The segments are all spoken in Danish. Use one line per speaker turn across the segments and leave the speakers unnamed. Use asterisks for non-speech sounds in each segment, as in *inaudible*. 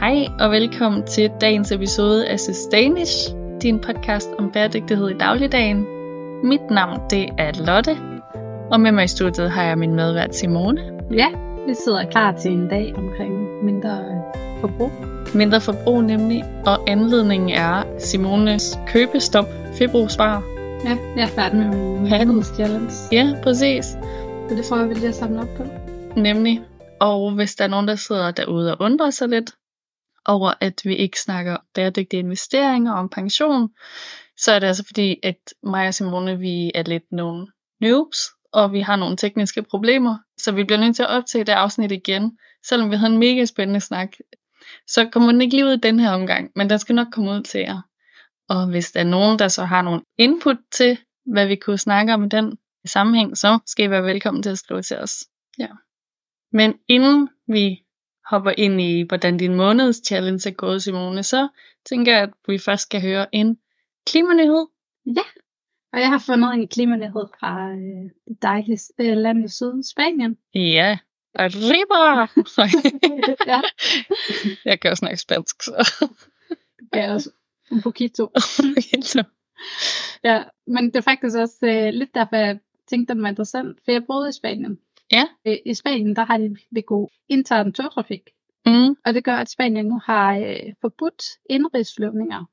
Hej og velkommen til dagens episode af Sustainish, din podcast om bæredygtighed i dagligdagen. Mit navn det er Lotte, og med mig i studiet har jeg min medvært Simone.
Ja, vi sidder klar til en dag omkring mindre øh, forbrug.
Mindre forbrug nemlig, og anledningen er Simones købestop februarsvar.
Ja, jeg er færdig med min
Færdig.
challenge.
Ja, præcis,
Så det tror jeg, vi lige har samlet op på.
nemlig. Og hvis der er nogen, der sidder derude og undrer sig lidt over, at vi ikke snakker bæredygtige investeringer og om pension, så er det altså fordi, at mig og Simone, vi er lidt nogle noobs, og vi har nogle tekniske problemer, så vi bliver nødt til at optage det afsnit igen, selvom vi havde en mega spændende snak. Så kommer den ikke lige ud i den her omgang, men den skal nok komme ud til jer. Og hvis der er nogen, der så har nogle input til, hvad vi kunne snakke om i den sammenhæng, så skal I være velkommen til at skrive til os. Ja. Men inden vi hopper ind i, hvordan din måneds challenge er gået, Simone, så tænker jeg, at vi først skal høre en klimanyhed.
Og jeg har fundet en klimanethed fra øh, det dejlige øh, land i syden, Spanien.
Ja, arriba! Sorry,
*laughs* ja,
*laughs* jeg kan jo snakke spansk, så. *laughs*
det er også altså, en poquito.
så.
Ja, men det er faktisk også øh, lidt derfor, jeg tænkte, den var interessant, for jeg boede i Spanien.
Ja.
Øh, I Spanien, der har de en virkelig god intern togtrafik,
mm,
og det gør, at Spanien nu har øh, forbudt indrigsflyvninger,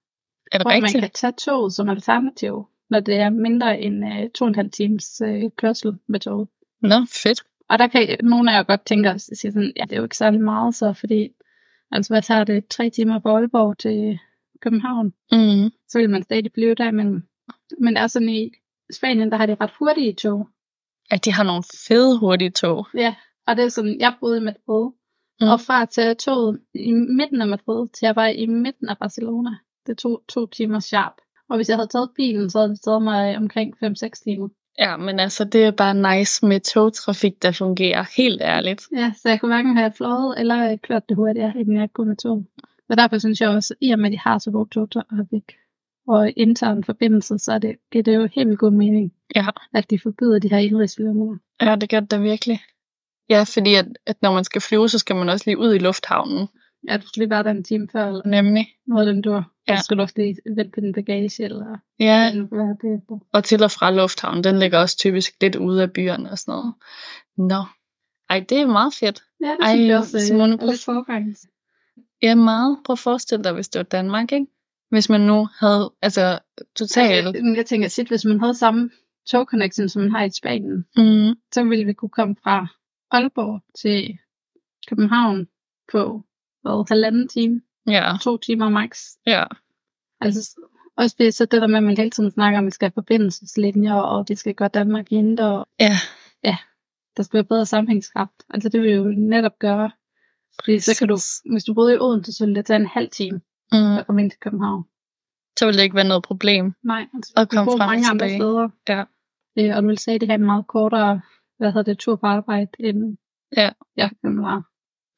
er det
hvor man
rigtigt?
kan tage toget som alternativ, når det er mindre end øh, to og en halv times øh, kørsel med toget.
Nå, fedt.
Og der kan nogle af jer godt tænke os, at sige sådan, ja, det er jo ikke særlig meget så, fordi altså, hvad tager det tre timer fra Aalborg til København?
Mm.
så vil man stadig blive der imellem. Men der er sådan i Spanien, der har de ret hurtige tog.
At de har nogle fede hurtige tog.
Ja. Og det er sådan, jeg boede i Madrid.
Mm.
Mm. Og fra at tage toget i midten af Madrid, til jeg var i midten af Barcelona. Det tog to timer sharp. Og hvis jeg havde taget bilen, så havde det taget mig omkring 5-6 timer.
Ja, men altså, det er bare nice med togtrafik, der fungerer, helt ærligt.
Ja, så jeg kunne hverken have fløjet eller øh, kørt det hurtigere, end jeg kunne med tog. Så derfor synes jeg også, i og med at de har så god togtrafik og intern forbindelse, så er det, giver det jo helt vildt god mening,
Ja.
at de forbyder de her indrigsflyvninger.
Ja, det gør det da virkelig. Ja, fordi at, at når man skal flyve, så skal man også lige ud i lufthavnen.
Ja, du skal lige være der en time før, eller
Nemlig.
noget af den dør.
Ja.
Ja. Så skal du også lige vente på din bagage, eller
Ja,
eller hvad er det efter.
og til og fra lufthavnen, den ligger også typisk lidt ude af byerne og sådan noget. Nå, ej, det er meget fedt.
Ja, det
Ej,
synes jeg også øh,
Simone,
er lidt forgangs.
Ja, meget. Prøv at forestille dig, hvis det var Danmark, ikke? Hvis man nu havde, altså, totalt.
Men Altså, Jeg tænker, shit, hvis man havde samme togconnection, som man har i Spanien,
Mm,
så ville vi kunne komme fra Aalborg til København på hvad, halvanden time,
ja,
to timer max.
ja,
Altså, også det, så det der med, at man hele tiden snakker om, at vi skal have forbindelseslinjer, og vi skal gøre Danmark indre, og
ja,
der skal være bedre sammenhængskraft. Altså, det vil jo netop gøre, Fordi så kan du, hvis du boede i Odense, så ville det tage en halv time
Mm,
at komme ind til København.
så ville det ikke være noget problem.
Nej, altså,
Og
du
komme
bor
frem og
mange andre
tilbage.
steder.
Ja.
Øh, og du ville sige, at det her er en meget kortere hvad hedder det, tur på arbejde, end
Ja.
jeg kan være.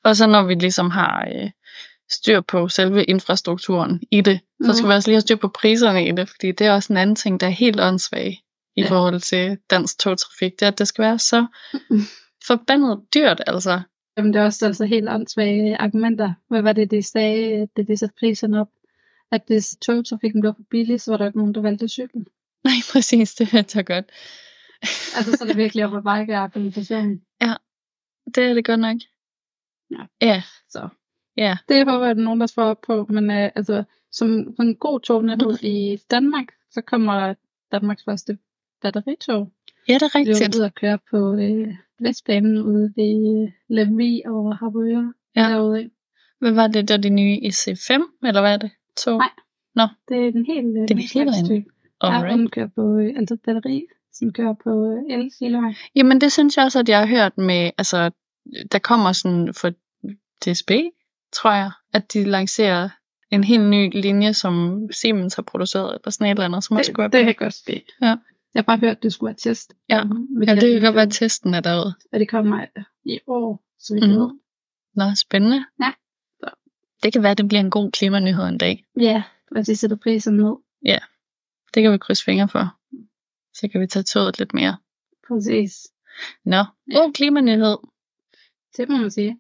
Og så når vi ligesom har øh, styr på selve infrastrukturen i det, så skal
Mhm.
vi også lige have styr på priserne i det, fordi det er også en anden ting, der er helt åndssvag i
Ja.
forhold til dansk togtrafik, det er, at det skal være så forbandet dyrt, altså.
Jamen, det er også altså helt åndssvage argumenter. Hvad var det, de sagde, da de satte priserne op? At hvis togtrafikken blev for billig, så var der ikke nogen, der valgte cyklen.
*laughs* Nej, præcis, det hørte jeg godt.
Altså, så er det virkelig op ad bakke argumentation.
Det er det godt nok.
Så.
Ja.
Det håber jeg, at der er nogen, der svarer på. Men øh, altså, som, som en god tognetud i Danmark, så kommer Danmarks første batteritog.
Ja, det er
Det er
rigtigt.
jo ud at køre på øh, Vestbanen ude ved Lemvi og Harboøre
Ja.
ja. derude. af.
Hvad var det, der det nye IC5, eller hvad er det? To?
Nej. Det er den helt øh,
Det er helt andet.
Ja, og
Alright.
den kører på øh, altså batteri, som kører på øh, el hele vejen.
Jamen, det synes jeg også, at jeg har hørt med, altså, der kommer sådan for DSB, tror jeg, at de lancerer en helt ny linje, som Siemens har produceret, eller sådan et eller andet, som også
Det,
går op.
det kan godt ske.
Ja.
Jeg har bare hørt, at det skulle være test. Øhm,
Ja.
men
ja,
jeg
det
ved
kan godt
ikke,
være, at testen er derude.
At det kommer øh, i år, så vi
Mhm.
mm. ved.
Nå, spændende.
Ja. Så.
Det kan være, at det bliver en god klimanyhed en dag.
Ja, og de sætter priserne ned.
Det kan vi krydse fingre for. Så kan vi tage toget lidt mere.
Præcis.
Nå, god klimanyhed.
Det må man sige.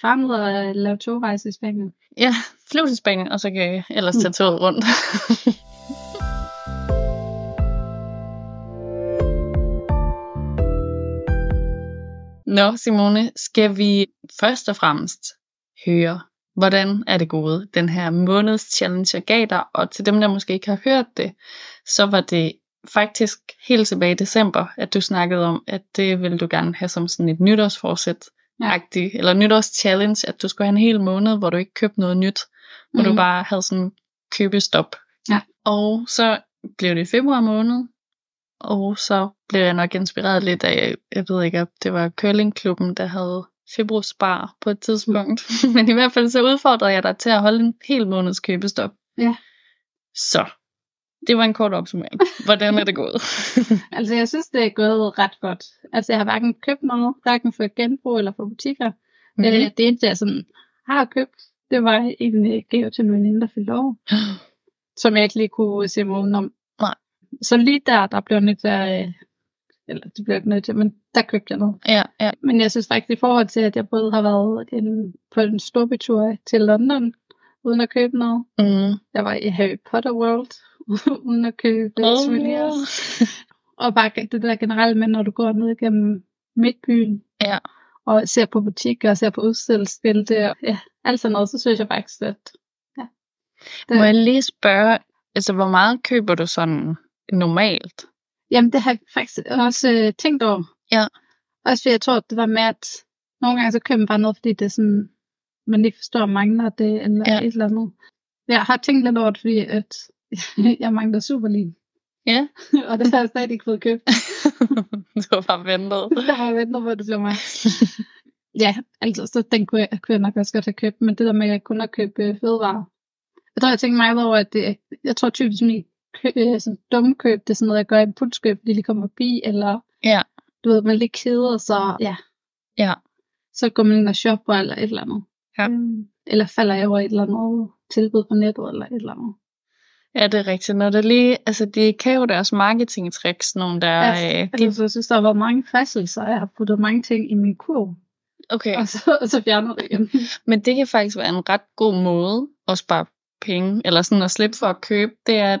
farmor og lave togrejse i Spanien.
Ja, flyv til Spanien, og så kan jeg ellers tage toget rundt. Nå, Simone, skal vi først og fremmest høre, hvordan er det gået? Den her måneds challenge, jeg gav dig, og til dem, der måske ikke har hørt det, så var det faktisk helt tilbage i december, at du snakkede om, at det ville du gerne have som sådan et nytårsforsæt,
Ja.
ja. eller nytårschallenge, at du skulle have en hel måned, hvor du ikke købte noget nyt, hvor mm. du
Mhm.
bare havde sådan købestop.
Ja.
Og så blev det februar måned, og så blev jeg nok inspireret lidt af, jeg ved ikke, om det var curlingklubben, der havde februarsbar på et tidspunkt. *laughs* Men i hvert fald så udfordrede jeg dig til at holde en hel måneds købestop.
Ja.
Så, det var en kort opsummering. Hvordan er det gået?
Altså, jeg synes, det er gået ret godt. Altså, jeg har hverken købt noget, hverken for genbrug eller for butikker.
Mhm.
Mm. *laughs* Øh, det eneste, jeg sådan har købt, det var en øh, gave til min veninde, der fyldte år, som jeg ikke lige kunne se mig udenom.
Nej.
Så lige der, der blev jeg nødt til at, øh, eller det blev jeg ikke nødt til, men der købte jeg noget.
*laughs* ja, ja.
Men jeg synes faktisk, i forhold til, at jeg både har været en, på en stubbetur til London, uden at købe noget.
Mm.
Jeg var i Harry Potter World, *laughs* uden at købe oh. souvenirs. Og bare det der generelt med, når du går ned igennem midtbyen,
Ja.
og ser på butikker, og ser på udstillingsskilte, og ja, alt sådan noget, så synes jeg faktisk, at ja. Det,
Må jeg lige spørge, altså hvor meget køber du sådan normalt?
Jamen, det har jeg faktisk også øh, tænkt over.
Ja.
Også fordi jeg tror, det var med, at nogle gange så køber man bare noget, fordi det er sådan, man ikke forstår, mangler det, eller
Ja.
ja. et eller andet. Jeg har tænkt lidt over det, fordi at *laughs* jeg mangler Superligen.
Ja.
*laughs* og det har jeg stadig ikke fået købt.
*laughs* du har bare ventet.
*laughs* Der var jeg ventet på, at det
*laughs*
blev mig. ja, altså, så den kunne jeg, kunne jeg nok også godt have købt, men det der med, at jeg kun har købt øh, fødevarer. Jeg tror, jeg tænker meget over, at det, jeg tror typisk, min kø, øh, sådan dumme køb, det er sådan noget, jeg gør i impulskøb, fordi jeg lige kommer forbi, eller
Ja.
du ved, man lige keder sig, ja.
Ja.
Så går man ind og shopper, eller et eller andet.
Ja.
Mm. Eller falder jeg over et eller andet tilbud på nettet, eller et eller andet.
Ja, det er rigtigt. Når det lige, altså de kan jo deres marketingtricks, nogle der... Ja. Øh,
Altså,
de,
så jeg synes, der har været mange fristelser, og jeg har puttet mange ting i min kurv,
okay.
og så, og så fjernet det igen.
Men det kan faktisk være en ret god måde at spare penge, eller sådan at slippe for at købe, det er, at,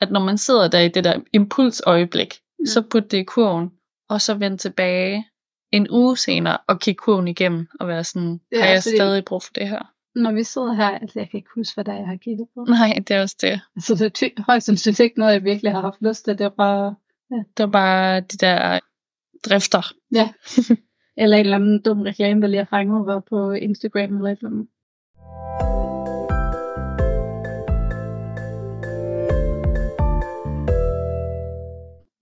at når man sidder der i det der impulsøjeblik,
Ja.
ja. så put det i kurven, og så vend tilbage en uge senere og kigge kurven igennem, og være sådan,
Ja,
har jeg
fordi-
stadig brug for det her? *laughs*
når vi sidder her, altså jeg kan ikke huske, hvad der er, jeg har kigget på.
Nej, det er også det.
Så det er ty- højst sandsynligt ikke noget, jeg virkelig har haft lyst til. Det er bare,
Det var bare de der drifter.
eller en eller anden dum reklame, der lige har fanget var på Instagram eller et eller andet.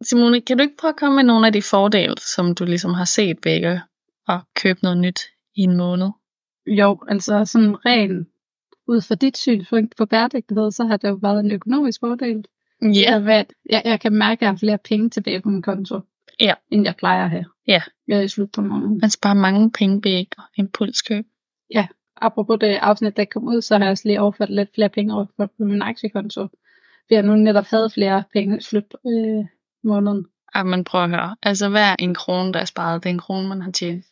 Simone, kan du ikke prøve at komme med nogle af de fordele, som du ligesom har set ved ikke at købe noget nyt i en måned?
Jo, altså sådan ren ud fra dit synspunkt på bæredygtighed, så har det jo været en økonomisk fordel.
Ja,
Jeg, ved, jeg, jeg kan mærke, at jeg har flere penge tilbage på min konto,
Ja.
end jeg plejer at have.
Ja.
Jeg er i slut på måneden.
man sparer mange penge ved ikke impulskøb.
apropos det afsnit, der kom ud, så har jeg også lige overført lidt flere penge over på på min aktiekonto. Fordi jeg nu netop havde flere penge i slut øh, måneden.
Ej, men prøv at høre. Altså, hver en krone, der er sparet, det er en krone, man har tjent.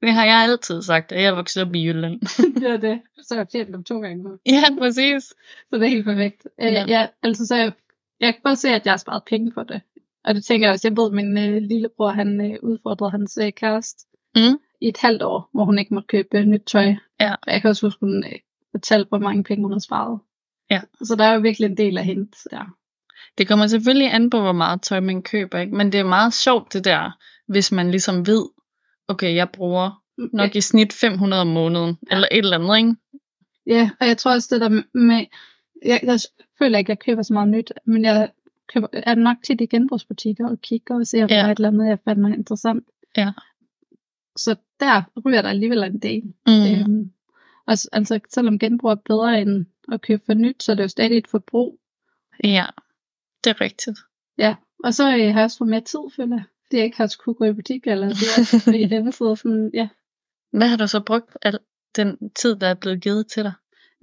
Det har jeg altid sagt, at jeg er vokset op i Jylland. *laughs*
*laughs* det var det. Så har jeg tjent dem to gange nu.
ja, præcis.
Så det er helt perfekt. Øh,
Ja.
ja. ja. altså så jeg, jeg kan både se, at jeg har sparet penge på det. Og det tænker jeg også, jeg ved, min øh, lillebror, han øh, udfordrede hans øh, kæreste
Mm.
i et halvt år, hvor hun ikke må købe øh, nyt tøj.
Ja.
Og jeg kan også huske, hun øh, fortalte, hvor mange penge hun har sparet.
Ja.
Så der er jo virkelig en del af hende der.
Det kommer selvfølgelig an på, hvor meget tøj man køber, ikke? Men det er meget sjovt, det der, hvis man ligesom ved, okay, jeg bruger nok i snit 500 om måneden, ja. eller et eller andet, ikke?
Ja, og jeg tror også det der med, jeg, jeg føler ikke, jeg køber så meget nyt, men jeg køber, er nok tit i genbrugsbutikker og kigger og ser, om
Ja.
ja. der er et eller andet, jeg fandt mig interessant.
Ja.
Så der ryger der alligevel en del. Mm.
Mm.
Øhm, og, s- altså, selvom genbrug er bedre end at købe for nyt, så er det jo stadig et forbrug.
Ja, det er rigtigt.
Og så øh, har jeg også fået mere tid, føler jeg. Det jeg ikke har kunne gå i butik, eller det er *laughs* i hjemmeside, sådan, ja.
Hvad har du så brugt al den tid, der er blevet givet til dig?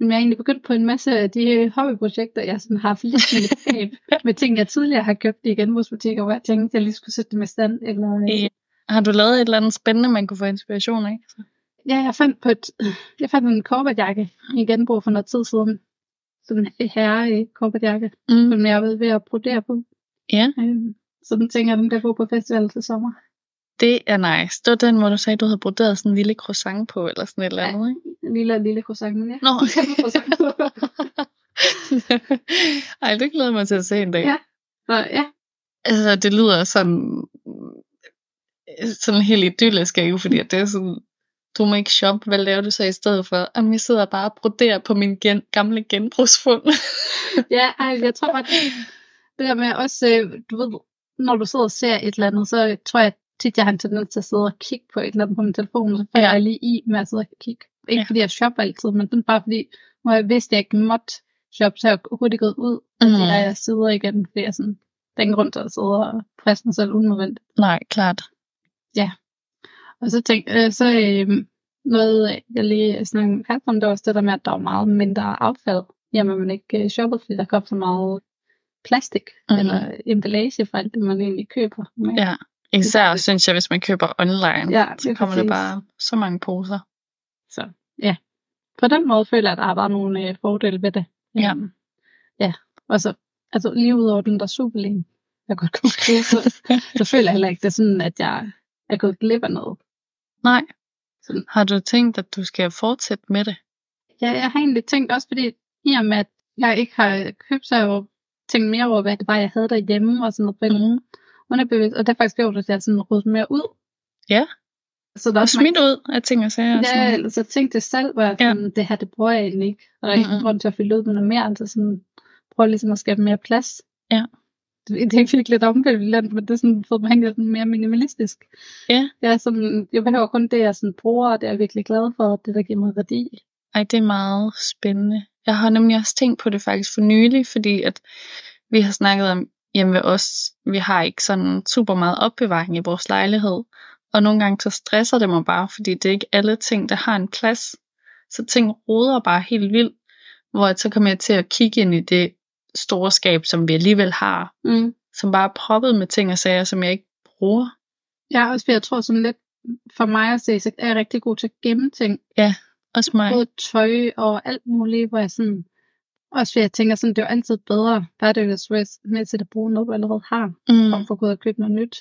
Men jeg er egentlig begyndt på en masse af de øh, hobbyprojekter, jeg sådan har haft lidt med lidt skab, med ting, jeg tidligere har købt i genbrugsbutikker, hvor jeg tænkte, at jeg lige skulle sætte dem i stand. Eller, øh,
Ja. Har du lavet et eller andet spændende, man kunne få inspiration af?
Ja, jeg fandt, på et, jeg fandt en korbatjakke i genbrug for noget tid siden. Sådan en herre korbatjakke, mm. som jeg har været ved at brodere på.
Ja.
Øhm, så den tænker jeg, den bliver god på festival til sommer.
Det er nice. Det var den, hvor du sagde, du havde broderet sådan en lille croissant på, eller sådan et eller
Ja.
andet, ikke?
En lille, lille croissant,
*laughs*
men ja. *laughs*
Nå.
En kæmpe croissant.
Ej, det glæder jeg mig til at se en dag.
Ja. så ja,
Altså, det lyder sådan, sådan helt idyllisk, ikke? Fordi at det er sådan, du må ikke shoppe, hvad laver du så i stedet for? Jamen, jeg sidder bare og broderer på min gen- gamle genbrugsfund. *laughs*
ja ej, jeg tror bare, det, det der med også, øh, du ved, når du sidder og ser et eller andet, så tror jeg tit, jeg har en tendens til at sidde og kigge på et eller andet på min telefon, så
Ja.
falder ja. jeg lige i med at sidde og kigge. Ikke
Ja.
ja. fordi jeg shopper altid, men sådan bare fordi, når jeg vidste, at jeg ikke måtte shoppe, så er jeg hurtigt gået ud, og
Mhm.
mm. der jeg sidder igen, fordi jeg sådan, der er ingen grund til at sidde og presse mig selv unødvendigt.
Nej, klart.
Og så tænkte øh, så øh, noget, jeg lige snakkede med Kat om, det var også det der med, at der var meget mindre affald, jamen man ikke øh, shoppede, fordi der kom så meget plastik
Mhm.
mm-hmm. eller emballage fra alt det, man egentlig køber. Men-
Ja, Især synes jeg, hvis man køber online,
ja
så
lige
kommer der
præcis.
bare så mange poser.
Så ja, på den måde føler jeg, at der er bare nogle øh, fordele ved det.
Ja.
Øhm, Ja, og så altså, lige ud over den der superlig, jeg godt kunne købe, så, så føler jeg heller ikke, det er sådan, at jeg er gået glip af noget.
*laughs* Nej.
Sådan.
Har du tænkt, at du skal fortsætte med det?
Ja, jeg har egentlig tænkt også, fordi i og med, at jeg ikke har købt, så har jeg jo tænkt mere over, hvad det var, jeg havde derhjemme og sådan noget på mm.
Mm.
underbevidst. Og det har faktisk gjort, at jeg sådan rodet mere ud.
Ja.
Så der er
Og
også mange,
smidt ud af ting og sager. og sådan
ja,
noget.
ellers jeg tænkte det selv, hvor jeg
Ja.
sådan, det her, det bruger jeg egentlig ikke. Og der er ikke
Mm-mm.
mm-hmm. grund til at fylde ud med noget mere, altså sådan, prøver ligesom at skabe mere plads.
Ja.
Det, det er virkelig lidt omvendt, men det er sådan, fået mig hen lidt mere minimalistisk.
Ja.
Jeg, er sådan, jeg behøver kun det, jeg sådan bruger, og det er jeg virkelig glad for, og det, der giver mig værdi.
Ej, det er meget spændende. Jeg har nemlig også tænkt på det faktisk for nylig, fordi at vi har snakket om hjemme ved os, vi har ikke sådan super meget opbevaring i vores lejlighed. Og nogle gange så stresser det mig bare, fordi det er ikke alle ting, der har en plads. Så ting roder bare helt vildt, hvor jeg så kommer jeg til at kigge ind i det store skab, som vi alligevel har,
Mm.
som bare er proppet med ting og sager, som jeg ikke bruger.
Ja, også fordi jeg tror sådan lidt, for mig at se, så er jeg rigtig god til at gemme ting.
Også mig.
Både tøj og alt muligt, hvor jeg sådan... Også fordi jeg tænker sådan, det er jo altid bedre bæredygtighedsmæssigt at bruge noget, du allerede har,
Mm.
frem for at gå ud og købe noget nyt.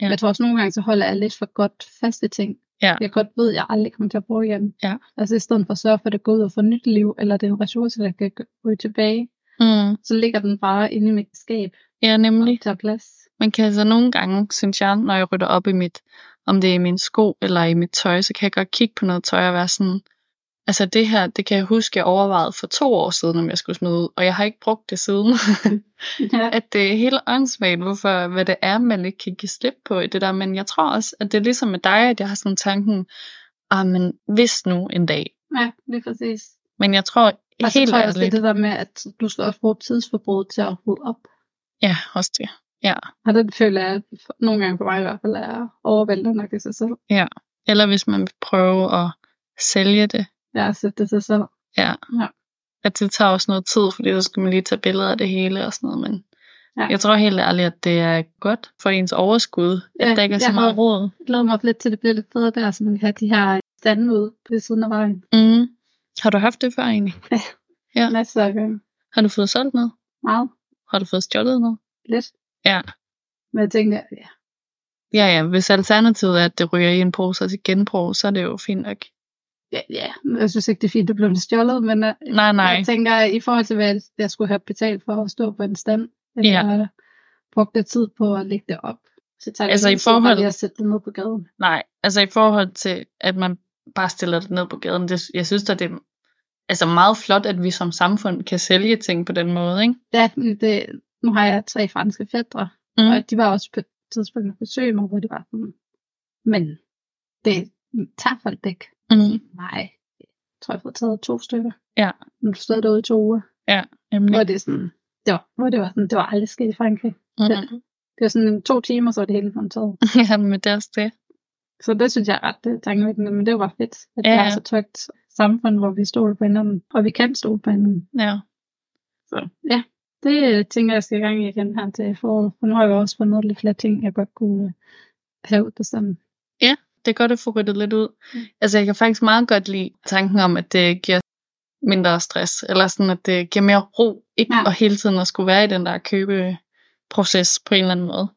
Ja.
Ja. Jeg tror også nogle gange, så holder jeg lidt for godt fast i ting.
Ja.
Jeg godt ved, at jeg aldrig kommer til at bruge igen.
Ja.
Altså i stedet for at sørge for, at det går ud og får nyt liv, eller det er en ressource, der kan gå tilbage,
Mm.
så ligger den bare inde i mit skab
Ja, nemlig.
og tager plads. *laughs*
Man kan altså nogle gange, synes jeg, når jeg rydder op i mit, om det er i mine sko eller i mit tøj, så kan jeg godt kigge på noget tøj og være sådan, altså det her, det kan jeg huske, jeg overvejede for to år siden, om jeg skulle smide ud, og jeg har ikke brugt det siden. *laughs*
Ja.
at det er helt åndssvagt, hvorfor, hvad det er, man ikke kan give slip på i det der, men jeg tror også, at det er ligesom med dig, at jeg har sådan tanken, ah, men hvis nu en dag.
ja, lige præcis.
Men jeg tror
Og så
helt
Altså, tror jeg også, det
ærligt,
er det der med, at du skal også bruge tidsforbruget til at rydde op.
ja, også det.
Og det føler jeg for- nogle gange for mig i hvert fald er overvældende nok i sig selv.
Eller hvis man vil prøve at sælge det,
Ja, at sætte det sig selv.
at det tager også noget tid, fordi så skal man lige tage billeder af det hele og sådan noget, men ja.
Ja.
jeg tror helt ærligt, at det er godt for ens overskud, at
Ja,
der ikke er så
jeg
meget
har-
råd.
Jeg glæder mig også lidt til, at det bliver lidt bedre der, så man kan have de her stande ude på siden af vejen.
Mm. Har du haft det før egentlig? Ja.
Masser af gange.
Har du fået solgt noget?
Meget
Har du fået stjålet noget?
lidt.
Ja.
Men jeg tænkte, ja,
Ja, ja, hvis alternativet er, at det ryger i en pose og til genbrug, så er det jo fint nok.
ja, ja. Men jeg synes ikke, det er fint, det blev stjålet, men øh,
Nej, nej.
jeg tænker, i forhold til, hvad jeg skulle have betalt for at stå på en stand, at
Ja.
jeg brugte tid på at lægge det op. Så tager det
Altså,
lidt
i
tid bare
forhold-
lige at sætte det ned på gaden.
Nej, altså i forhold til, at man bare stiller det ned på gaden, det, jeg synes da, det er altså meget flot, at vi som samfund kan sælge ting på den måde, ikke?
Ja, men det, nu har jeg tre franske fædre,
Mm.
mm. og de var også på et tidspunkt at besøge mig, hvor det var sådan, men det tager folk det ikke.
Mm.
Nej, jeg tror, jeg har taget to stykker.
Ja.
Nu stod derude i to uger,
Nemlig.
hvor det er sådan, det var, hvor det var sådan, det var aldrig sket i Frankrig.
Mm.
Det var sådan to timer, så var det
*laughs*
hele håndtaget.
ja, men det er også det.
Så det synes jeg er ret øh, tankevækkende, men det var fedt, at
Ja,
det er
ja.
så trygt samfund, hvor vi stoler på hinanden, og vi kan stole på hinanden.
Ja.
Så ja, det øh, tænker jeg skal i gang i igen her til foråret. For nu har jeg jo også fundet lidt flere ting, jeg godt kunne øh, have ud på sådan.
Ja. Det er godt at få ryddet lidt ud.
Mm.
Mm. Altså jeg kan faktisk meget godt lide tanken om, at det giver mindre stress, eller sådan, at det giver mere ro, ikke
Ja.
ja. at hele tiden at skulle være i den der købeproces på en eller anden måde.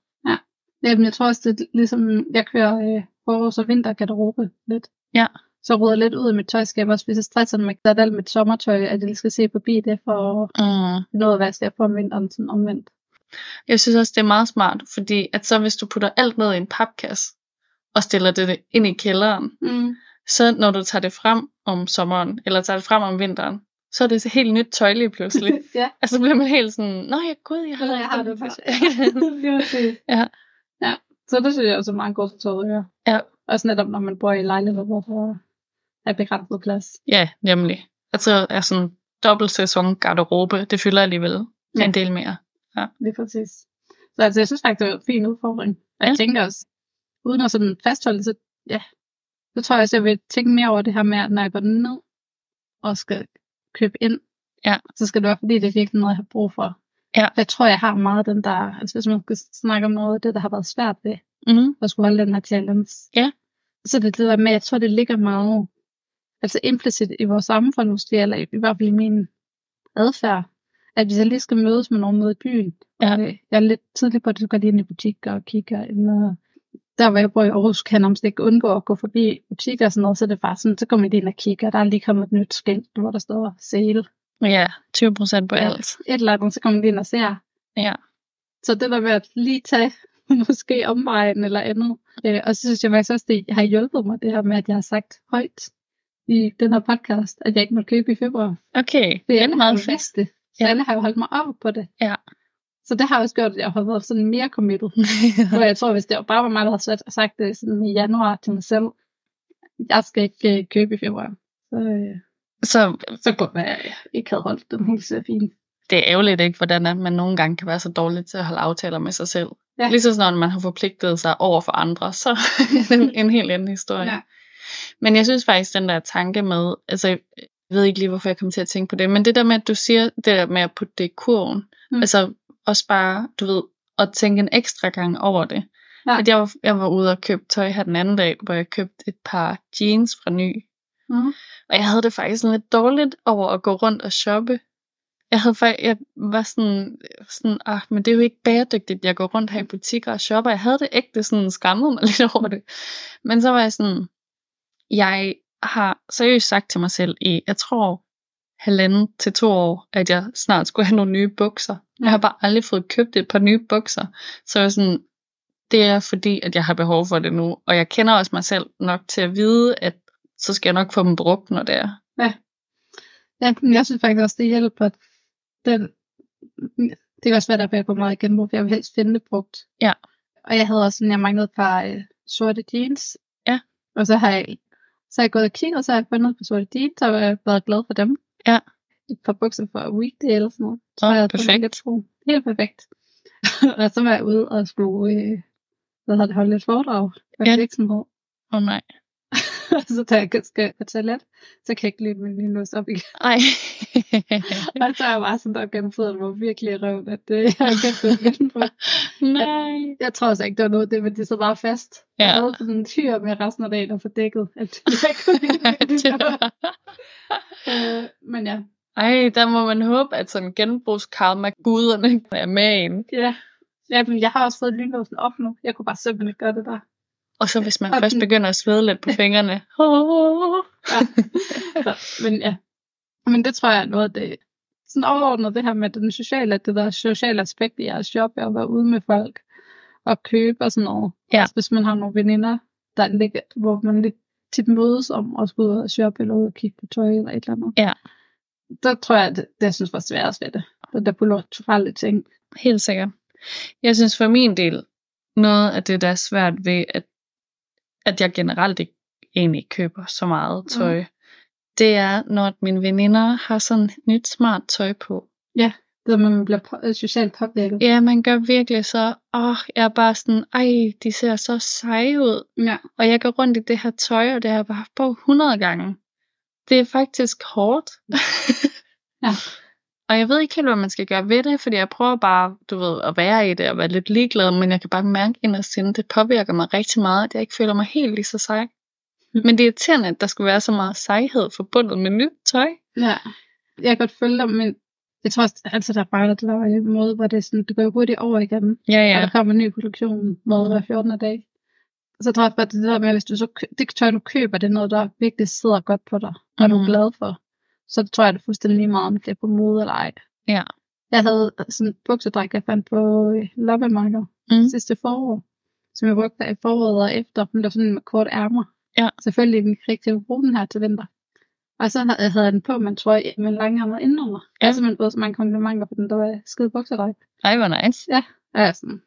Jamen, jeg tror også, det er ligesom, jeg kører øh, forårs- og vintergarderobe lidt.
Ja.
Så rydder lidt ud af mit tøjskab, også hvis jeg stresser mig. Der er alt mit sommertøj, at jeg lige skal se forbi det for at
Mm.
nå at vaske op om vinteren sådan omvendt.
Jeg synes også, det er meget smart, fordi at så hvis du putter alt ned i en papkasse, og stiller det ind i kælderen,
Mm.
så når du tager det frem om sommeren, eller tager det frem om vinteren, så er det så helt nyt tøj lige
*laughs*
pludselig.
ja,
altså så bliver man helt sådan, nå ja, gud, jeg har,
jeg har det
faktisk.
faktisk.
*laughs*
Lige præcis.
Ja.
ja. Så det synes jeg også er meget godt at høre.
Ja.
Også netop, når man bor i lejlighed, hvor der er begrænset plads.
ja, nemlig. Altså er sådan dobbelt sæson garderobe, det fylder alligevel
Ja.
ja. en del mere.
Lige præcis. Så altså, jeg synes faktisk, det var en fin udfordring. Og jeg
Ja.
tænker også, uden at sådan fastholde, så, ja, så tror jeg også, jeg vil tænke mere over det her med, at når jeg går ned og skal købe ind,
Ja.
så skal det være, fordi det er virkelig noget, jeg har brug for.
Ja.
For Jeg tror, jeg har meget af den der, altså hvis man skal snakke om noget af det, der har været svært ved
Mm.
at skulle holde den her challenge.
Ja.
Så det er det der med, jeg tror, det ligger meget altså implicit i vores samfund, måske, eller i, i hvert fald i min adfærd, at hvis jeg lige skal mødes med nogen nede i byen,
Ja.
og, øh, jeg er lidt tidlig på, at jeg går lige ind i butikker og kigger, eller der hvor jeg bor i Aarhus, kan jeg nærmest ikke undgå at gå forbi butikker og sådan noget, så er det bare sådan, så går man lige ind og kigger, og der er lige kommet et nyt skilt, hvor der står sale,
Ja, 20% på
Ja.
ja. alt.
et eller andet, så kommer man lige ind og ser.
Ja.
Så det der med at lige tage *laughs* måske omvejen eller andet. Øh, og så synes jeg faktisk også, det har hjulpet mig, det her med, at jeg har sagt højt i den her podcast, at jeg ikke måtte købe i februar. *laughs*
Okay,
Det er
det er
alle har jo
meget fedt.
vidst det. Så
Ja.
alle har jo holdt mig op på det.
Ja.
Så det har også gjort, at jeg har været sådan mere committed. Hvor jeg tror, hvis det var bare var mig, der havde sat- sagt det sådan i januar til mig selv, jeg skal ikke øh, købe i februar. Så, øh,
så
så kunne det være, at jeg ikke havde holdt den helt så fint.
det er ærgerligt ikke, hvordan at man nogle gange kan være så dårlig til at holde aftaler med sig selv.
Ja.
Ja. Lige så snart man har forpligtet sig over for andre, så *laughs* er det en helt anden historie.
Ja.
Ja. Men jeg synes faktisk, den der tanke med, altså jeg ved ikke lige, hvorfor jeg kom til at tænke på det, men det der med, at du siger, det der med at putte det i kurven,
Mm.
mm. altså også bare, du ved, at tænke en ekstra gang over det.
Ja.
Ja. At jeg var, jeg var ude og købe tøj her den anden dag, hvor jeg købte et par jeans fra ny,
Mm.
og jeg havde det faktisk sådan lidt dårligt over at gå rundt og shoppe. Jeg, havde faktisk, jeg var sådan, sådan ah, men det er jo ikke bæredygtigt, jeg går rundt her i butikker og shopper. Jeg havde det ægte sådan skammet mig *laughs* lidt over det. Men så var jeg sådan, jeg har seriøst sagt til mig selv i, jeg tror, halvanden til to år, at jeg snart skulle have nogle nye bukser.
Ja.
Jeg har bare aldrig fået købt et par nye bukser. Så jeg var sådan, det er fordi, at jeg har behov for det nu. Og jeg kender også mig selv nok til at vide, at så skal jeg nok få dem brugt, når det er.
Ja, men jeg synes faktisk også, det hjælper. at Den, det kan også være, der bliver på meget genbrug, for jeg vil helst finde det brugt.
Ja.
Og jeg havde også sådan, jeg manglede et par øh, sorte jeans.
Ja.
Og så har jeg, så har jeg gået og kigget, og så har jeg fundet på sorte jeans, og jeg har været glad for dem.
Ja.
Et par bukser for weekday eller sådan noget. Så
Nå,
har jeg fundet
perfekt.
lidt tro. Helt perfekt. *laughs* og så var jeg ude og skulle øh, hvad hedder det, holde et foredrag for
Ja.
ja. *laughs* virksomhed.
Åh oh, nej.
så da jeg skal på toilet, så kan jeg ikke lige min lynlås op igen.
Ej.
Og så er jeg bare sådan, der gennemførte mig virkelig røven, at det jeg har gennemført på.
*laughs* nej.
Jeg tror også ikke, det var noget af det, men det så bare fast. Ja. Jeg
Ja.
havde sådan en tyr med resten af dagen og fordækket, at jeg kunne ikke øh, Men ja,
Ej, der må man håbe, at sådan genbrugskarma guderne er med en.
ja. Ja, men jeg har også fået lynlåsen op nu. Jeg kunne bare simpelthen ikke gøre det der.
Og så hvis man
Og
først
den-
begynder at svede lidt på fingrene. *laughs* Åh.
Så, men ja. Men det tror jeg er noget af det. Sådan overordnet det her med den sociale, det der sociale aspekt i at shoppe og være ude med folk og købe og sådan noget.
Ja.
Også hvis man har nogle veninder, der ligger, hvor man lidt tit mødes om at skulle ud og shoppe eller ud og kigge på tøj eller et eller andet.
Ja.
Der tror jeg, at det, det jeg synes var sværest ved det. Den der kulturelle ting.
Helt sikkert. Jeg synes for min del, noget af det, der er svært ved, at, at jeg generelt ikke egentlig køber så meget tøj, mm. det er, når mine veninder har sådan nyt smart tøj på.
Det der med, at man bliver på, øh, socialt påvirket.
Ja, man gør virkelig så, åh, jeg er bare sådan, ej, de ser så seje ud.
Ja.
Og jeg går rundt i det her tøj, og det har jeg bare haft på 100 gange. Det er faktisk hårdt.
Ja.
Og jeg ved ikke helt, hvad man skal gøre ved det, fordi jeg prøver bare, du ved, at være i det og være lidt ligeglad, men jeg kan bare mærke inderst inde, det påvirker mig rigtig meget, at jeg ikke føler mig helt lige så sej.
Mm.
Men det er irriterende, at der skulle være så meget sejhed forbundet med nyt tøj.
Ja, jeg kan godt følge dig, men jeg tror også, altså, der er bare der er en måde, hvor det er sådan, du går hurtigt over igen,
Ja,
ja. og
ja.
der kommer en ny produktion, hvor hver 14. dag. Så tror jeg bare, det der med, at hvis du så kø- det tøj, du køber, det er noget, der virkelig sidder godt på dig, og du er
Mhm.
glad for. Så tror jeg, det er fuldstændig lige meget, om det er på mode eller ej.
Ja.
Jeg havde sådan en buksedræk, jeg fandt på øh, loppemarked
Mm.
mm. sidste forår, som jeg brugte i foråret og efter, men det var sådan med kort ærmer.
Ja.
Selvfølgelig, vi kan ikke til at bruge den her til vinter. Og så havde havde jeg den på, man tror, jeg, med langærmet indenover.
Ja.
Ja. Altså, man fået så mange komplimenter på den, der var skide buksedræk.
Ej, hvor nice.
Ja, sådan.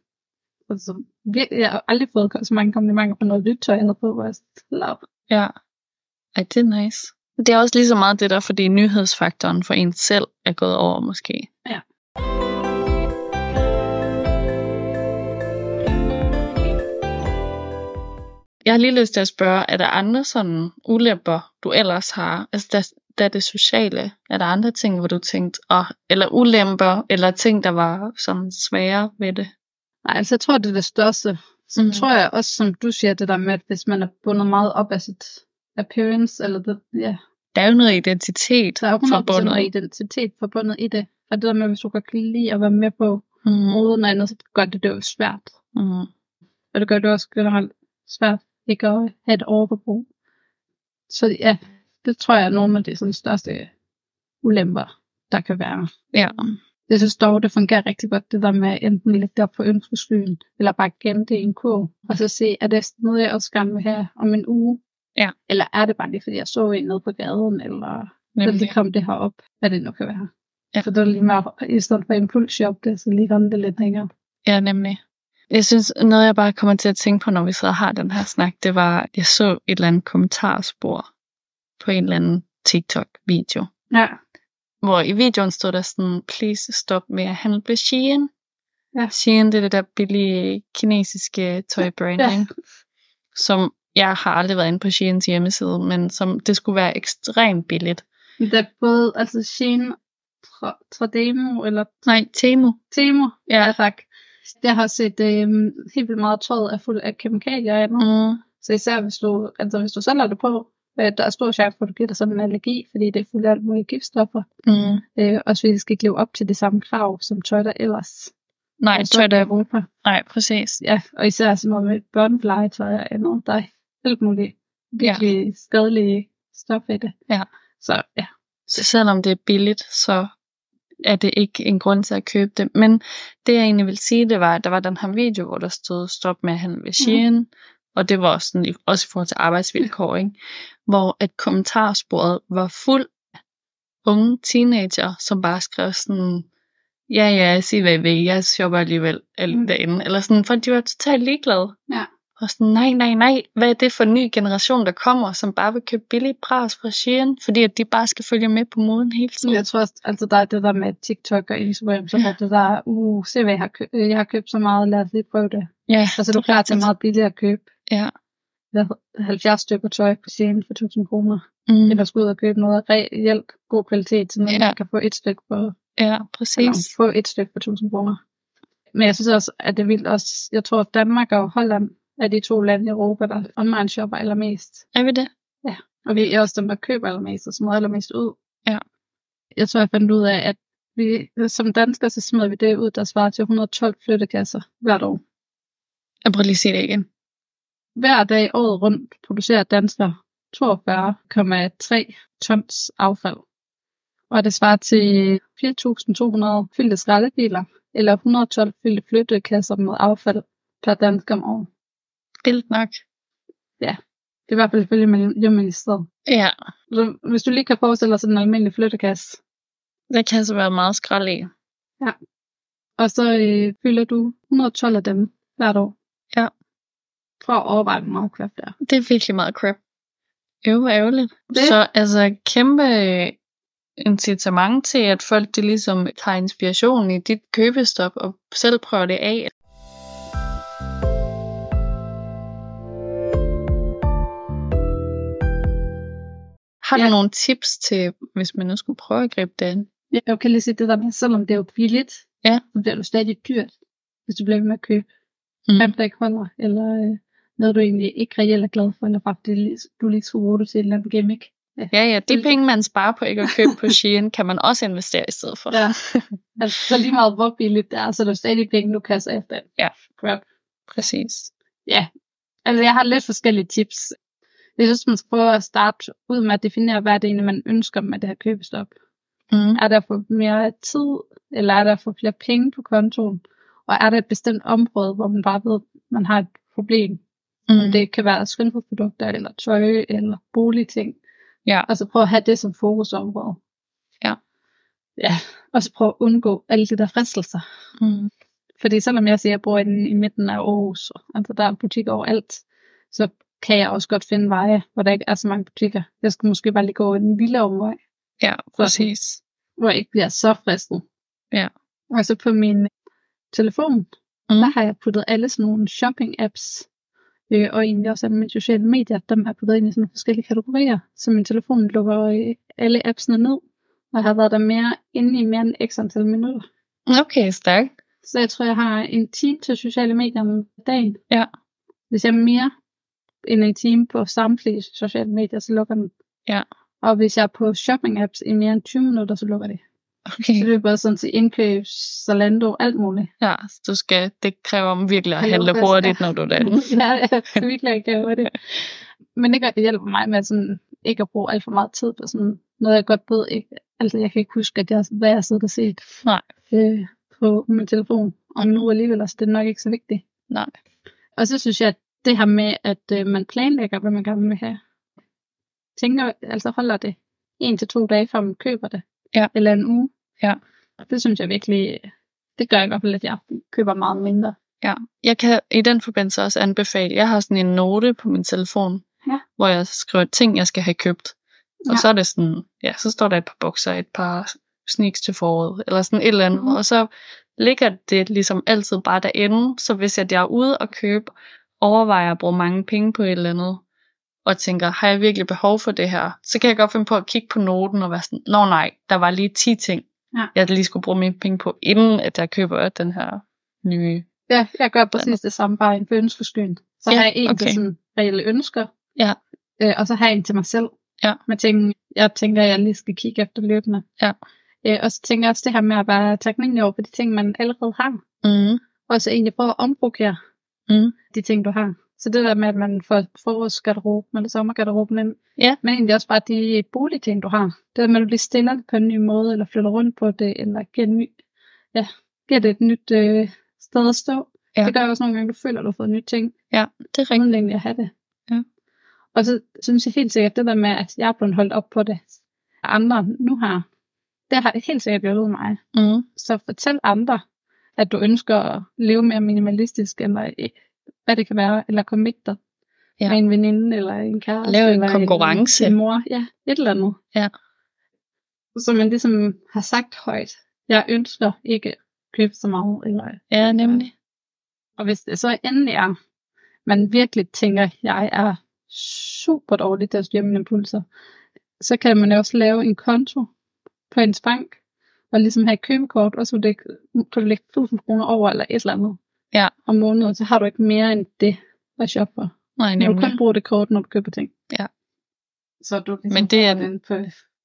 Altså, virkelig, jeg har aldrig fået så mange komplimenter på noget nyt tøj, jeg havde på, hvor jeg slap.
Ja. Ej, det er nice. Det er også lige så meget det der, fordi nyhedsfaktoren for en selv er gået over måske.
Ja.
Jeg har lige lyst til at spørge, er der andre sådan ulemper, du ellers har? Altså, der, der er det sociale. Er der andre ting, hvor du tænkte, oh, eller ulemper, eller ting, der var sådan svære ved det?
Nej, altså jeg tror, det er det største. Så
Mhm.
mm. tror jeg også, som du siger, det der med, at hvis man er bundet meget op af sit appearance, eller det, ja,
Der er jo noget identitet
der er jo 100%
forbundet.
noget
ikke?
identitet forbundet i det. Og det der med, hvis du godt kan lide at være med på
Mm,
moden og andet, så gør det det jo svært.
mm.
Og det gør det også generelt svært ikke at have et overforbrug. Så ja, det tror jeg er nogle af de sådan, største ulemper, der kan være.
Ja.
Jeg synes dog, det fungerer rigtig godt, det der med at enten lægge det op på ønskeskyen, eller bare gemme det i en kurv, og så se, er det noget, jeg også gerne vil have om en uge?
Ja.
Eller er det bare lige, fordi jeg så en nede på gaden, eller
Nemlig.
Nemlig. det kom det her op, hvad det nu kan være.
Ja.
Så det er lige meget, i stedet for impulsshop, det er så lige ramme det lidt længere.
Ja, nemlig. Jeg synes, noget jeg bare kommer til at tænke på, når vi sidder og har den her snak, det var, at jeg så et eller andet kommentarspor på en eller anden TikTok-video,
Ja,
hvor i videoen stod der sådan, please stop med at handle på Shein.
Ja.
Shein, det er det der billige kinesiske tøjbrand,
Ja.
ja. som jeg har aldrig været inde på Sheins hjemmeside, men som det skulle være ekstremt billigt.
Men Der er både, altså Shein, Tra- Trademo, eller
Nej, Temu.
Temo,
Ja.
ja tak. Jeg har også set øh, helt vildt meget tøjet er fuld af kemikalier og andet. Mm.
Mm,
Så især hvis du, altså hvis du sælger det på, øh, der er stor chance for, at du giver dig sådan en allergi, fordi det er fuldt af alt mulige giftstoffer.
mm.
Øh, også fordi det skal ikke leve op til det samme krav, som tøj der ellers.
Nej,
er
tøj,
solgt i
der...
Europa.
Nej, præcis.
Ja, og især sådan noget med børneplejetøj og andet. Der er alt muligt virkelig ja. skadelige stoffer i det.
Ja.
Så ja.
Så selvom det er billigt, så er det ikke en grund til at købe det. Men det jeg egentlig vil sige, det var, at der var den her video, hvor der stod stop med at handle ved Shein. Mm. Og det var også, sådan, i- også i forhold til arbejdsvilkår, ikke? hvor at kommentarsporet var fuld af unge teenager, som bare skrev sådan, ja ja, sig hvad I vil, jeg shopper alligevel alle mm.
Mm.
derinde. Eller sådan, for de var totalt ligeglade.
Ja.
Og sådan, nej, nej, nej, hvad er det for en ny generation, der kommer, som bare vil købe billig bras fra Shein, fordi at de bare skal følge med på moden hele
Men
tiden.
Jeg tror også, altså der er det der med TikTok og Instagram, så er det der, uh, se hvad jeg har, kø- øh, jeg har købt så meget, lad os lige prøve det.
Ja,
Og så er du klar til
rigtigt.
meget billigt at købe
Ja.
hvad hed- 70 stykker tøj på scenen for 1000 kroner. Mm.
Mm,
Eller skulle ud og købe noget reelt god kvalitet, så man
Ja.
ja. kan få et stykke for,
ja,
eller,
præcis.
få et stykke for 1000 kroner. Men jeg synes også, at det er vildt også, jeg tror, at Danmark og Holland er de to lande i Europa, der online shopper allermest.
Er vi det?
Og vi er også dem, der køber allermest og smider allermest ud.
Ja.
Jeg tror, jeg fandt ud af, at vi, som danskere, så smider vi det ud, der svarer til 112 flyttekasser hvert år.
Jeg prøver lige at sige det igen.
Hver dag året rundt producerer danskere 42,3 tons affald. Og det svarer til 4.200 fyldte skraldebiler, eller 112 fyldte flyttekasser med affald per dansker om året.
Billigt nok.
Det er i hvert fald ifølge Miljøministeriet.
Ja,
Så Hvis du lige kan forestille dig sådan en almindelig flyttekasse,
der kan altså være meget skrald i.
Og så øh, fylder du 112 af dem hvert år.
Ja.
Prøv at overveje, hvor meget kraft der er.
Det er virkelig meget crap. Øv, hvor ærgerligt.
Det-
Så altså kæmpe øh, incitament til, at folk de ligesom tager inspiration i dit købestop og selv prøver det af. Har du
Ja.
nogle tips til, hvis man nu skulle prøve at gribe det an?
Ja, Jeg kan lige se det der med, selvom det er jo billigt,
Ja.
så bliver det jo stadig dyrt, hvis du bliver ved med at købe
Mm.
mm. der ikke holder, eller øh, noget, du egentlig ikke reelt er glad for, eller bare fordi lige- du lige skulle bruge det til et eller andet gimmick.
Ja, ja, de
Det-
penge, man sparer på ikke at købe
*laughs*
på Shein, kan man også investere i stedet for.
Ja. altså, så lige meget hvor billigt det er, så er der jo stadig penge, du kaster efter.
Ja.
Crap.
Præcis.
Altså, jeg har lidt forskellige tips. Jeg synes, man skal prøve at starte ud med at definere, hvad det egentlig, man ønsker med det her købestop.
Mm.
Er der for mere tid, eller er der for flere penge på kontoen? Og er der et bestemt område, hvor man bare ved, man har et problem? Mm. Det kan være skønhedsprodukter, eller tøj, eller boligting.
Ja.
Og så prøve at have det som fokusområde.
Ja.
Ja, og så prøve at undgå alle de der fristelser.
Mm.
Fordi selvom jeg siger, at jeg bor inde i midten af Aarhus, og altså der er butikker overalt, så kan jeg også godt finde veje, hvor der ikke er så mange butikker. Jeg skal måske bare lige gå en lille omvej,
Ja, præcis.
hvor jeg ikke bliver så fristet.
Ja.
Og så på min øh, telefon,
Mm.
der har jeg puttet alle sådan nogle shopping-apps, øh, og egentlig også alle mine sociale medier, dem har jeg puttet ind i sådan nogle forskellige kategorier, så min telefon lukker øh, alle appsene ned, og jeg har været der mere inde i mere end x antal minutter.
Okay, stærkt.
Så jeg tror, jeg har en time til sociale medier om dagen.
Ja.
Hvis jeg er mere end en time på samtlige sociale medier, så lukker den.
Ja.
Og hvis jeg er på shopping-apps i mere end 20 minutter, så lukker det. *laughs*
Okay.
Så det er både sådan til indkøb, Zalando, alt muligt.
Ja, så du skal, det kræver virkelig at
Hallo,
handle
først,
hurtigt, når du er derinde.
ja, *laughs* jeg er virkelig ikke over det. Men det gør- det hjælper mig med sådan, ikke at bruge alt for meget tid på sådan noget, jeg godt ved ikke. Altså, jeg kan ikke huske, at jeg, hvad jeg har siddet og set
Nej.
øh, på min telefon. Og nu alligevel også, det er nok ikke så vigtigt.
Nej.
Og så synes jeg, at det her med, at øh, man planlægger, hvad man gerne vil have, tænker, altså holder det en til to dage, før man køber det.
Ja.
Eller en uge.
Ja.
Det synes jeg virkelig, øh, det gør i hvert fald, at jeg køber meget mindre.
Jeg kan i den forbindelse også anbefale, jeg har sådan en note på min telefon,
Ja.
hvor jeg skriver ting, jeg skal have købt. Og
Ja.
så er det sådan, ja, så står der et par bukser, et par sneaks til foråret, eller sådan et eller andet.
Mhm.
Og så ligger det ligesom altid bare derinde, så hvis jeg jeg er ude og købe, overvejer at bruge mange penge på et eller andet, og tænker, har jeg virkelig behov for det her? Så kan jeg godt finde på at kigge på noten og være sådan, nå nej, der var lige 10 ting,
Ja.
jeg lige skulle bruge mine penge på, inden at jeg køber den her nye
Ja, jeg gør præcis det samme, bare en for ønskeskyen. Så
Ja,
har jeg en okay.
okay.
til sådan reelle ønsker,
Ja.
øh, og så har jeg en til mig selv.
Ja.
Med ting, jeg tænker, jeg lige skal kigge efter løbende.
Ja.
Øh, og så tænker jeg også det her med at være taknemmelig over for de ting, man allerede har.
Mm.
Og så egentlig prøve at ombrugere
Mm.
de ting, du har. Så det der med, at man får forårsgarderoben eller sommergarderoben ind.
Ja.
Men egentlig også bare de boligting, du har. Det der med, at du lige stiller det på en ny måde, eller flytter rundt på det, eller giver, en ny, ja, giver det et nyt øh, sted at stå.
Ja.
Det gør jo også nogle gange, du føler, at du har fået nye ting,
Det er rigtigt.
uden egentlig at have det.
Ja.
Og så synes jeg helt sikkert, at det der med, at jeg er blevet holdt op på det, og andre nu har, det har helt sikkert hjulpet mig
Mm.
så fortæl andre, at du ønsker at leve mere minimalistisk, eller i- hvad det kan være, eller commit dig
Ja.
ja. med en veninde, eller en kæreste.
Lav en
eller
konkurrence.
En, en mor, ja, et eller andet.
Ja.
Så man ligesom har sagt højt, jeg ønsker ikke at købe så meget, eller
Ja, nemlig.
og hvis det så endelig er, man virkelig tænker, jeg er super dårlig til at styre mine impulser, så kan man jo også lave en konto på ens bank, og ligesom have et købekort, og så lægge- kan du lægge 1000 kroner over, eller et eller andet
Ja.
om måneden, så har du ikke mere end det at shoppe for.
Nej,
Men du
nemlig.
kan bruge det kort, når du køber ting.
Ja.
Så du ligesom
Men det er-
får den på,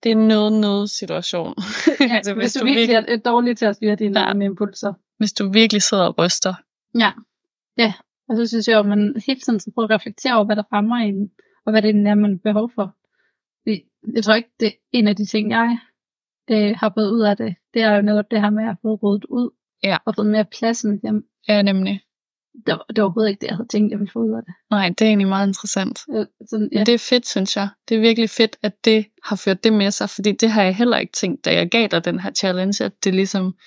Det er en nød nød *laughs* situation.
ja,
altså,
hvis, du virkelig er dårlig til at styre dine
Ja.
egne impulser.
hvis du virkelig sidder og ryster.
Og så synes jeg, at man hele tiden skal prøve at reflektere over, hvad der rammer en, og hvad det egentlig er, man har behov for. Fordi Jeg tror ikke, det er en af de ting, jeg øh, har fået ud af det. Det er jo netop det her med, at jeg har fået ryddet ud,
Ja.
og fået mere plads i mit hjem.
Ja, nemlig.
Det var, det var overhovedet ikke det, jeg havde tænkt, jeg ville få ud af det.
Nej, det er egentlig meget interessant.
Øh, Sådan,
Ja.
ja.
Det er fedt, synes jeg. Det er virkelig fedt, at det har ført det med sig, fordi det har jeg heller ikke tænkt, da jeg gav dig den her challenge, at det ligesom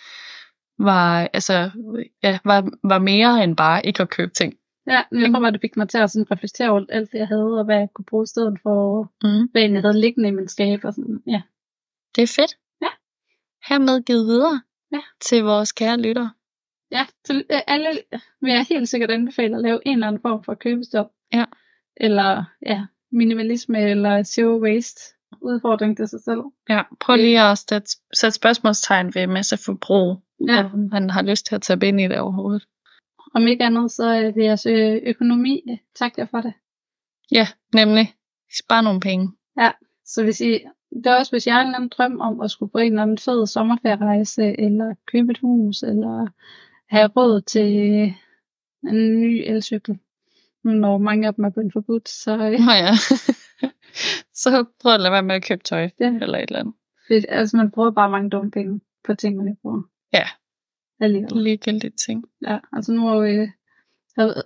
var, altså, ja, var, var mere end bare ikke at købe ting.
ja, men jeg tror bare, det fik mig til at sådan reflektere over alt det, jeg havde, og hvad jeg kunne bruge i stedet for,
Mm.
hvad jeg egentlig havde liggende i min skab. Og sådan, ja.
Det er fedt.
Ja.
Hermed givet videre
Ja.
til vores kære lytter.
Ja, så øh, alle vil jeg helt sikkert anbefale at lave en eller anden form for købestop.
Ja.
Eller ja, minimalisme eller zero waste. udfordring til sig selv.
Ja, prøv lige at sætte, sætte spørgsmålstegn ved masseforbrug,
Ja.
ja. om han har lyst til at tage ind i det overhovedet.
Om ikke andet, så er det jeres øh, økonomi. Tak jer for det.
Ja, nemlig. Spar nogle penge.
Så hvis I, det er også, hvis jeg har en eller anden drøm om at skulle på en eller anden fed sommerferierejse, eller købe et hus, eller have råd til øh, en ny elcykel, nu når mange af dem er blevet forbudt, så øh, *laughs*
Nå ja. *laughs* så prøv at lade være med at købe tøj
ja,
eller et eller andet.
det, altså, man bruger bare mange dumme penge på ting, man ikke bruger.
Ja.
Alligevel.
Ligegyldigt ting.
Ja, altså nu øh, havde,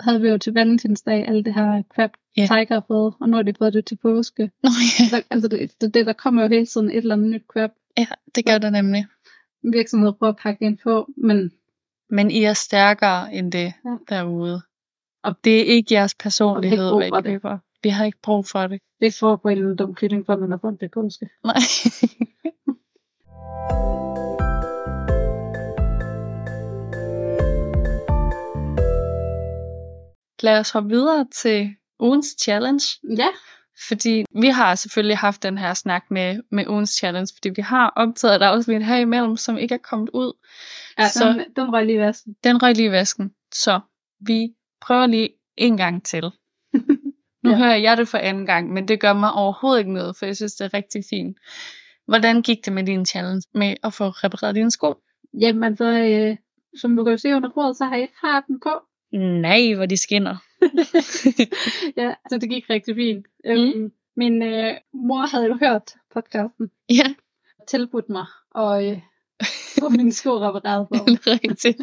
havde vi jo til valentinsdag alle det her crap,
Ja.
yeah. Tiger har fået, og nu har de fået det til påske.
Nå ja,
Der, altså det, det, der kommer jo hele tiden et eller andet nyt crap,
ja det gør der nemlig.
virksomheder prøver at pakke ind på, men
Men I er stærkere end det
Ja.
ja. derude. Og det er ikke jeres personlighed,
brug
hvad
for
I
det.
løber. Vi har ikke brug for det.
Det er ikke for at få en eller anden dum kylling, for at man har fået en begunske.
Nej. *laughs* Lad os hoppe videre til ugens challenge.
Ja.
Fordi vi har selvfølgelig haft den her snak med, med ugens challenge, fordi vi har optaget et afsnit her imellem, som ikke er kommet ud.
ja
Så-
den, den røg lige værst.
Den røg lige i vasken, så vi prøver lige en gang *laughs* til. Nu
Ja.
ja. hører jeg det for anden gang, men det gør mig overhovedet ikke noget, for jeg synes, det er rigtig fint. Hvordan gik det med din challenge med at få repareret dine sko?
Jamen altså, øh, som du kan jo se under bordet, så har jeg ikke har den på.
Nej, hvor de skinner.
ja, så det gik rigtig fint. Mm. Øhm, min øh, mor havde jo hørt podcasten
*laughs* ja,
og tilbudt mig og øh, få mine sko repareret på.
det er rigtigt.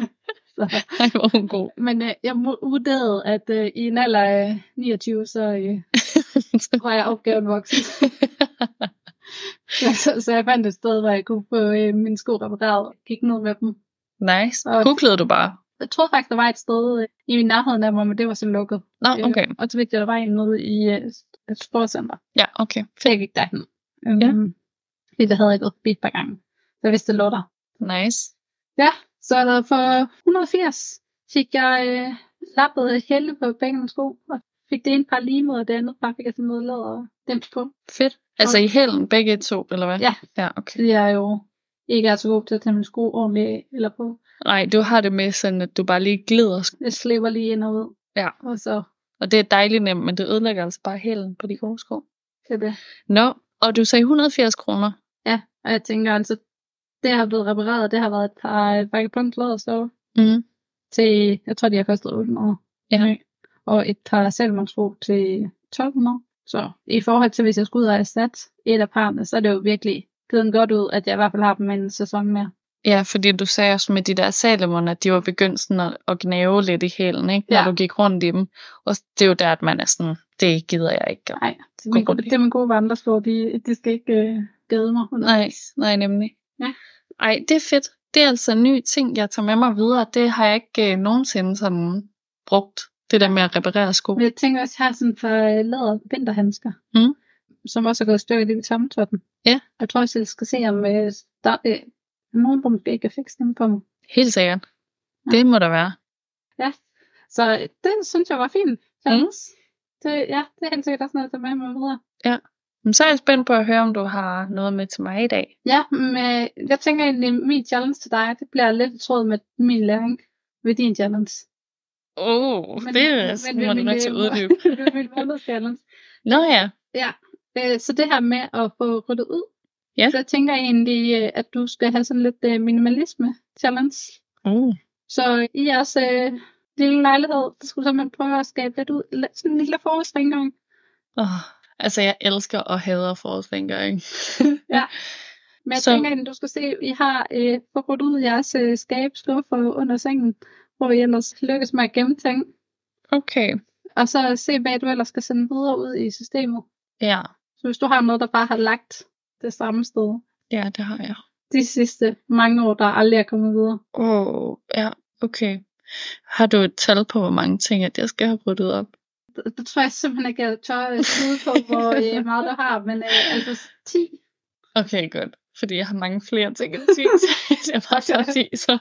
Så.
Ej, hvor er hun god. *laughs*
Men øh, jeg mu- vurderede, at øh, i en alder af 29, så øh, tror jeg, opgaven voksede. så, så jeg fandt et sted, hvor jeg kunne få øh, mine sko repareret. Gik ned med dem
nice.
Og-
Googlede du bare?
Jeg troede faktisk, der var et sted øh, i min nærhed af mig, men det var så lukket.
Nå,
Øh,
okay.
Og så vidste jeg, der var en nede i øh, et storcenter.
Ja, okay.
Så jeg gik derhen. Øhm,
Ja.
Fordi der havde jeg gået forbi et par gange. Så jeg vidste, det lå der.
Nice.
Ja, så for 180 fik jeg øh, lappet hælde på begge mine sko. Og fik det ene par limet, og det andet par fik jeg sådan noget læder dem på.
Fedt. Altså i hælden begge to, eller hvad?
Ja.
Ja, okay.
Fordi jeg jo ikke er så god til at tage mine sko ordentligt af eller på.
Nej, du har det med sådan, at du bare lige glider
Jeg slipper lige ind og ud.
Ja.
Og så
Og det er dejligt nemt, men det ødelægger altså bare hælen på de gode sko.
til det.
Nå, og du sagde 180 kroner.
Ja, og jeg tænker altså, det har blevet repareret, det har været et par øh, pakke plump læderstøvler
Mm.
til, jeg tror, de har kostet 800.
Ja.
Og et par salmonsro til 1200. Så i forhold til, hvis jeg skulle ud og erstatte et af parrene, så er det jo virkelig givet godt ud, at jeg i hvert fald har dem en sæson mere.
Ja, fordi du sagde også med de der salamon, at de var begyndt sådan at, at gnave lidt i hælen, ikke? Når
Ja.
du gik rundt i dem. Og det er jo der, at man er sådan, det gider jeg ikke.
Nej, det er,
God
min,
rundt i.
det er min gode vandrestå, de, de skal ikke øh, gøde mig.
Nej, nej nemlig.
Ja.
Ej, det er fedt. Det er altså en ny ting, jeg tager med mig videre. Det har jeg ikke øh, nogensinde sådan brugt, det der med at reparere sko.
Men jeg tænker også, at jeg har sådan for læder vinterhandsker,
Mm.
som også er gået i stykker lige ved tomtoppen.
Ja.
Jeg tror også, jeg skal se, om øh, der, øh, nogen der måske ikke kan fikse dem på mig.
Helt sikkert.
Ja.
Det må der være.
Ja. Så øh, det synes jeg var fint. Mm.
Mm.
Det, ja, det er helt sikkert også noget, der med mig videre.
Men så er jeg spændt på at høre, om du har noget med til mig i dag.
Ja, men øh, jeg tænker egentlig, min challenge til dig, det bliver lidt i tråd med min læring ved din challenge. *laughs*
Åh, oh, det er sådan,
ved
må du
min,
nok til at
øh,
uddybe.
ved min måneds challenge.
Nå ja,
Øh, så det her med at få ryddet ud.
Ja.
Så jeg tænker egentlig, øh, at du skal have sådan lidt øh, minimalisme challenge.
uh.
Så øh, i jeres øh, lille lejlighed, så skulle man prøve at skabe lidt ud. lidt- Sådan en lille forårsrengøring.
oh. altså jeg elsker og hader forårsvinker, ikke? *laughs*
Men jeg så...
Så-
tænker egentlig, du skal se, at I har øh, fået ryddet ud i jeres øh, skab, skuffer under sengen, hvor I ellers lykkes med at gemme ting.
Okay,
Og så se, hvad du ellers skal sende videre ud i systemet.
ja,
Så hvis du har noget, der bare har lagt det samme sted
ja det har jeg.
de sidste mange år, der aldrig er kommet videre.
Åh, oh, ja, okay. Har du et tal på, hvor mange ting, at jeg skal have ryddet op?
Det, det tror jeg simpelthen ikke, jeg tør øh, skyde
*laughs*
på, hvor øh, meget du har, men øh, altså 10.
Okay, godt. Fordi jeg har mange flere ting end
*laughs*
10. så jeg bare tager 10, så...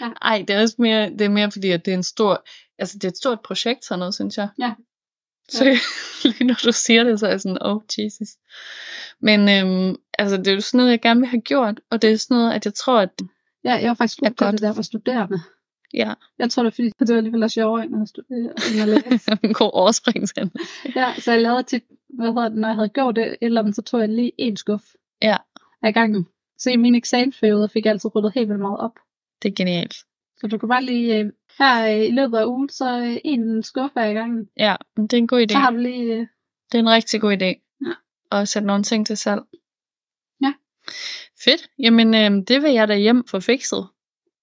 Ja.
Ej, det er også mere, det er mere fordi, at det er en stor, altså det er et stort projekt, sådan noget, synes jeg.
Ja.
Så ja. *laughs* lige når du siger det, så er jeg sådan, oh Jesus. Men øhm, altså, det er jo sådan noget, jeg gerne vil have gjort, og det er sådan noget, at jeg tror, at
Ja, jeg var faktisk
Ja,
god til
godt.
det der for studerende.
ja,
Jeg tror, det er fordi, det var alligevel også sjovere end at studere. End at læse.
en *laughs* god overspringshandel.
ja, så jeg lavede tit, hvad hedder det, når jeg havde gjort det, eller andet, så tog jeg lige en skuff
Ja.
af gangen. Så i min eksamensperiode fik jeg altid ryddet helt vildt meget op.
Det er genialt.
Så du kan bare lige, øh, her øh, i løbet af ugen, så øh, en skuffe af gangen.
Ja, men det er en god idé.
Så har du lige, øh,
Det er en rigtig god idé.
Ja.
Og sætte nogle ting til salg.
Ja.
Fedt. Jamen, øhm, det vil jeg da hjem få fikset.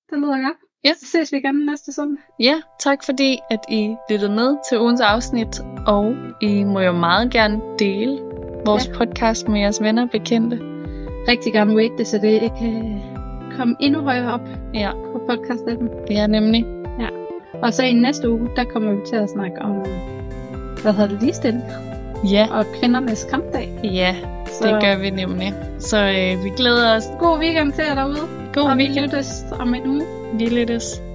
det lyder godt.
Ja.
Så ses vi igen næste søndag.
Ja, tak fordi, at I lyttede med til ugens afsnit, og I må jo meget gerne dele vores ja. podcast med jeres venner og bekendte.
Rigtig gerne wait det, så det ikke kan komme endnu højere op
Ja,
på podcasten.
det er nemlig.
Og så i næste uge, der kommer vi til at snakke om, øh, hvad hedder det, ligestilling
Ja,
og kvindernes kampdag.
ja,
Så
det gør vi nemlig. Så øh, vi glæder os.
god weekend til jer derude,
God
og vi
weekend.
lyttes om en uge.
Vi lyttes.